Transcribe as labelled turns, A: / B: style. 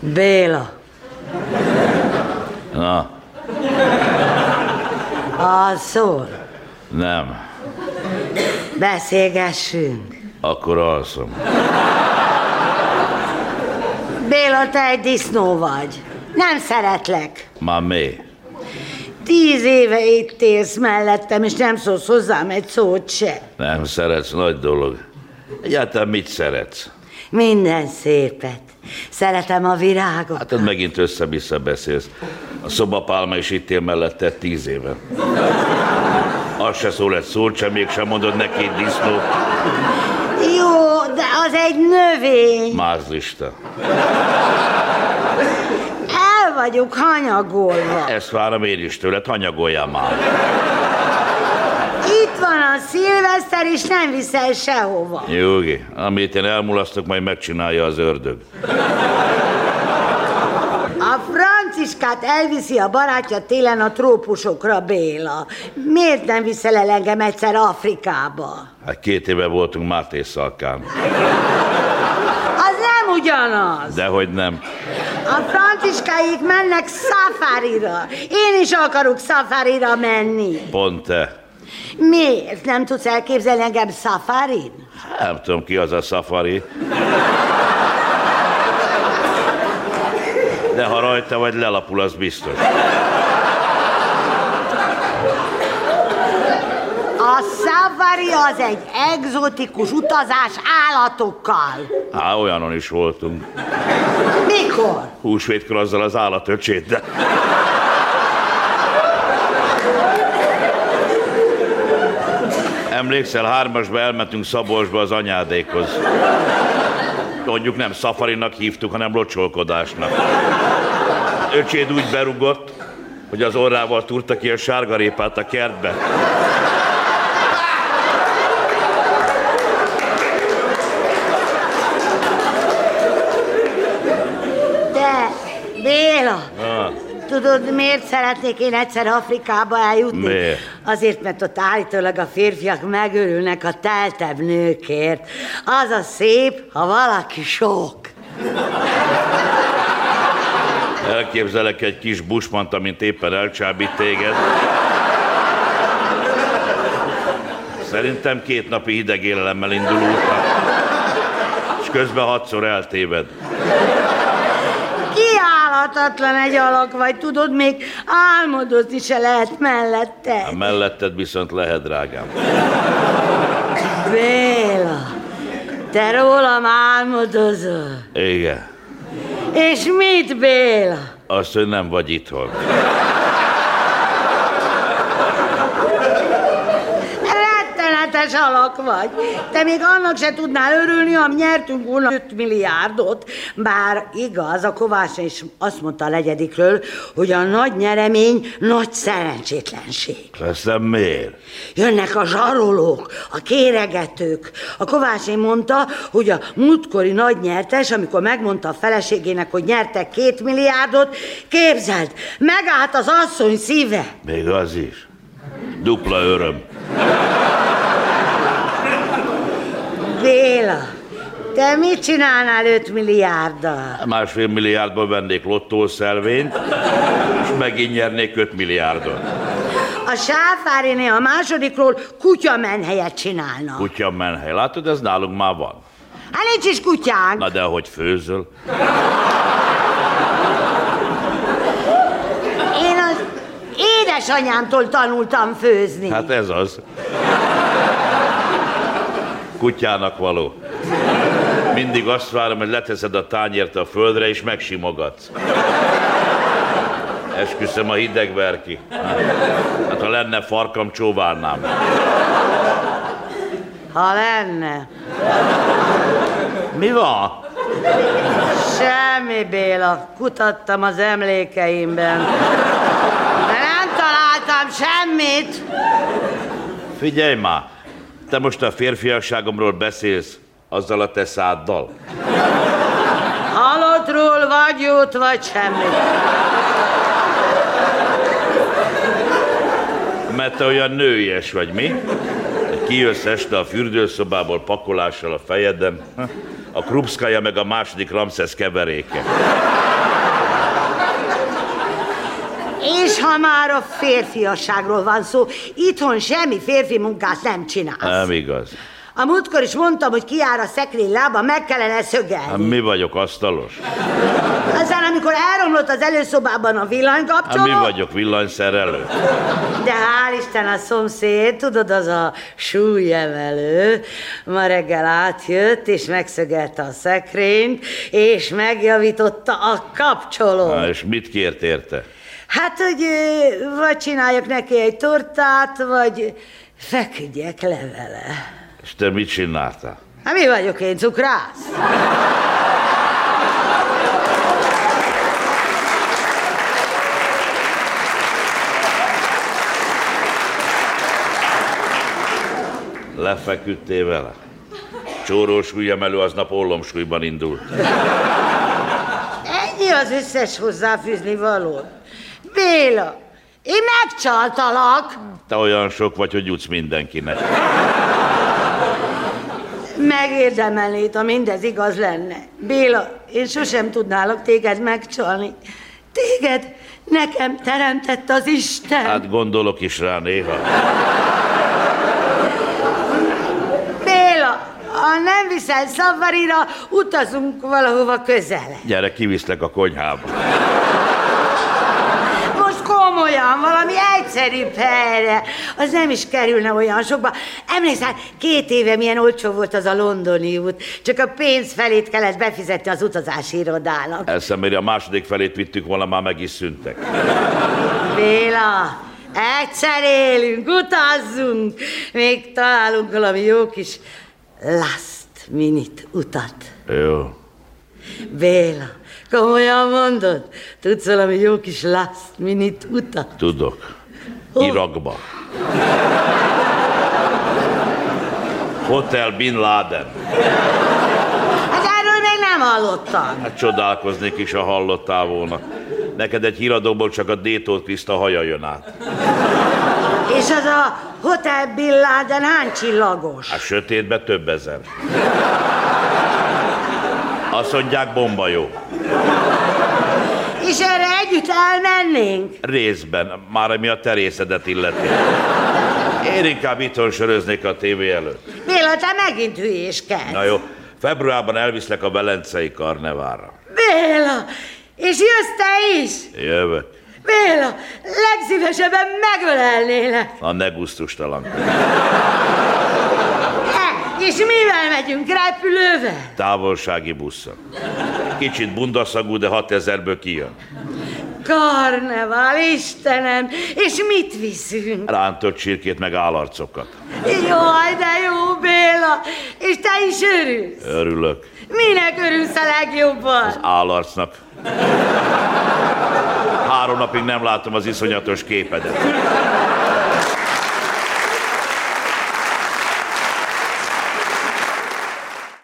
A: Béla.
B: Na,
A: Az szól.
B: nem.
A: Beszélgessünk.
B: Akkor alszom.
A: Béla, te egy disznó vagy. Nem szeretlek.
B: Már mi?
A: Tíz éve itt élsz mellettem, és nem szólsz hozzám egy szót se.
B: Nem szeretsz, nagy dolog. Egyáltalán mit szeretsz?
A: Minden szépet. Szeretem a virágot.
B: Hát ott megint össze-vissza beszélsz. A szobapálma is itt él mellette tíz éve. Azt se szól egy szót sem, mégsem mondod neki egy disznót.
A: Jó, de az egy növény.
B: Mázlista.
A: El vagyok hanyagolva.
B: Ezt várom én is tőled, hanyagoljál már.
A: Itt van a szilveszter, és nem viszel sehova.
B: Jogi, amit én elmulasztok, majd megcsinálja az ördög.
A: A franciskát elviszi a barátja télen a trópusokra, Béla. Miért nem viszel el engem egyszer Afrikába?
B: Hát két éve voltunk Máté Szalkán.
A: Az nem ugyanaz.
B: Dehogy nem.
A: A franciskáik mennek szafarira. Én is akarok szafarira menni.
B: Pont te.
A: Miért? Nem tudsz elképzelni engem szafarin?
B: Nem tudom, ki az a szafari. De ha rajta vagy, lelapul, az biztos.
A: A safari az egy egzotikus utazás állatokkal.
B: Há, olyanon is voltunk.
A: Mikor?
B: Húsvétkor azzal az állatöcsét, de... Emlékszel, hármasba elmentünk Szabolcsba az anyádékhoz. Mondjuk nem szafarinak hívtuk, hanem locsolkodásnak. Öcséd úgy berugott, hogy az orrával turta ki a sárgarépát a kertbe.
A: De, Béla,
B: Na,
A: tudod, miért szeretnék én egyszer Afrikába eljutni?
B: Miért?
A: Azért, mert ott állítólag a férfiak megörülnek a teltebb nőkért. Az a szép, ha valaki sok.
B: elképzelek egy kis busmant, amint éppen elcsábít téged. Szerintem két napi hideg élelemmel indul útra. És közben hatszor eltéved.
A: Kiállhatatlan egy alak vagy, tudod, még álmodozni se lehet mellette.
B: A melletted viszont lehet, drágám.
A: Béla, te rólam álmodozol.
B: Igen.
A: És mit, Béla?
B: Azt, hogy nem vagy itthon.
A: Rettenetes alak vagy. Te még annak se tudnál örülni, ha nyertünk volna 5 milliárdot. Bár igaz, a Kovács is azt mondta a negyedikről, hogy a nagy nyeremény nagy szerencsétlenség.
B: Aztán miért?
A: Jönnek a zsarolók, a kéregetők. A Kovácsé mondta, hogy a múltkori nagy nyertes, amikor megmondta a feleségének, hogy nyertek két milliárdot, képzeld, megállt az asszony szíve.
B: Még az is. Dupla öröm.
A: Béla, te mit csinálnál 5 milliárddal?
B: Másfél milliárdba vennék lottószelvényt, és megint nyernék 5 milliárdot.
A: A sáfáriné a másodikról kutya menhelyet csinálna.
B: Kutya menhely. Látod, ez nálunk már van.
A: Hát nincs is kutyánk.
B: Na de ahogy főzöl,
A: Én az édesanyámtól tanultam főzni.
B: hát ez az. Kutyának való. Mindig azt várom, hogy leteszed a tányért a földre, és megsimogatsz. Esküszöm, a hideg ver ki. Hát ha lenne farkam, csóválnám.
A: Ha lenne.
B: Mi van?
A: Semmi, Béla. Kutattam az emlékeimben. De nem találtam semmit.
B: Figyelj már! Te most a férfiasságomról beszélsz, azzal a te száddal.
A: Halottról vagy jót, vagy semmit.
B: Mert te olyan nőies vagy, mi? Kijössz este a fürdőszobából pakolással a fejeden, a krupszkaja meg a második Ramszesz keveréke.
A: És ha már a férfiasságról van szó, itthon semmi férfi munkát nem csinálsz.
B: Nem igaz.
A: A múltkor is mondtam, hogy kiár a szekrény lába, meg kellene
B: Hát
A: szögelni.
B: mi vagyok, asztalos?
A: Aztán, amikor elromlott az előszobában a
B: Hát mi
A: villanykapcsoló,
B: vagyok, villanyszerelő?
A: de hál' Isten a szomszéd, tudod, az a súlyemelő, ma reggel átjött, és megszögelte a szekrényt, és megjavította a kapcsolót.
B: Na, és mit kért érte?
A: Hát, hogy ö, vagy csináljak neki egy tortát, vagy feküdjek le vele.
B: És te mit csináltál?
A: Hát mi vagyok én, cukrász?
B: Lefeküdtél vele? Csórós ujjemelő aznap ollomsúlyban indult.
A: Ennyi az összes hozzáfűzni való. Béla, én megcsaltalak,
B: Te olyan sok vagy, hogy jutsz mindenkinek.
A: megérdemelnéd, ha mindez igaz lenne. Béla, én sosem tudnálak téged megcsalni. Téged nekem teremtett az Isten.
B: Hát gondolok is rá néha.
A: Béla, ha nem viszel szavarira, utazunk valahova közele.
B: Gyere, kiviszlek a konyhába.
A: Most komolyan, valami egyszerűbb helyre. Az nem is kerülne olyan sokba. Emlékszel, két éve milyen olcsó volt az a londoni út. Csak a pénz felét kellett befizetni az utazási irodának.
B: Eszemére a második felét vittük volna, már meg is szűntek.
A: Béla, egyszer élünk, utazzunk. Még találunk valami jó kis last minute utat.
B: Jó.
A: Béla, komolyan mondod? Tudsz valami jó kis last minute utat?
B: Tudok.
A: Hol?
B: Irakba. Hotel Bin Laden.
A: Hát erről még nem hallottam.
B: Hát csodálkoznék is, ha hallottál volna. Neked egy híradóból csak a Détót Kriszta haja jön át.
A: És az a Hotel Bin Laden hány csillagos?
B: A sötétbe több ezer. Azt mondják, bomba jó.
A: És erre együtt elmennénk?
B: Részben, már ami a terészedet illeti. Én inkább itthon söröznék a tévé előtt.
A: Béla, te megint hülyéskedsz.
B: Na jó, februárban elviszlek a Velencei karnevára.
A: Béla, és jössz te is?
B: Jövök.
A: Béla, legszívesebben megölelnélek.
B: A ne gusztustalan.
A: E, és mivel megyünk? Repülővel?
B: Távolsági busszal. Kicsit bundaszagú, de 6000-ből kijön.
A: Karneval, Istenem, és mit viszünk?
B: Rántott csirkét meg állarcokat.
A: Jaj, de jó, Béla! És te is örülsz?
B: Örülök.
A: Minek örülsz a legjobban?
B: Állarcnak. Három napig nem látom az iszonyatos képedet.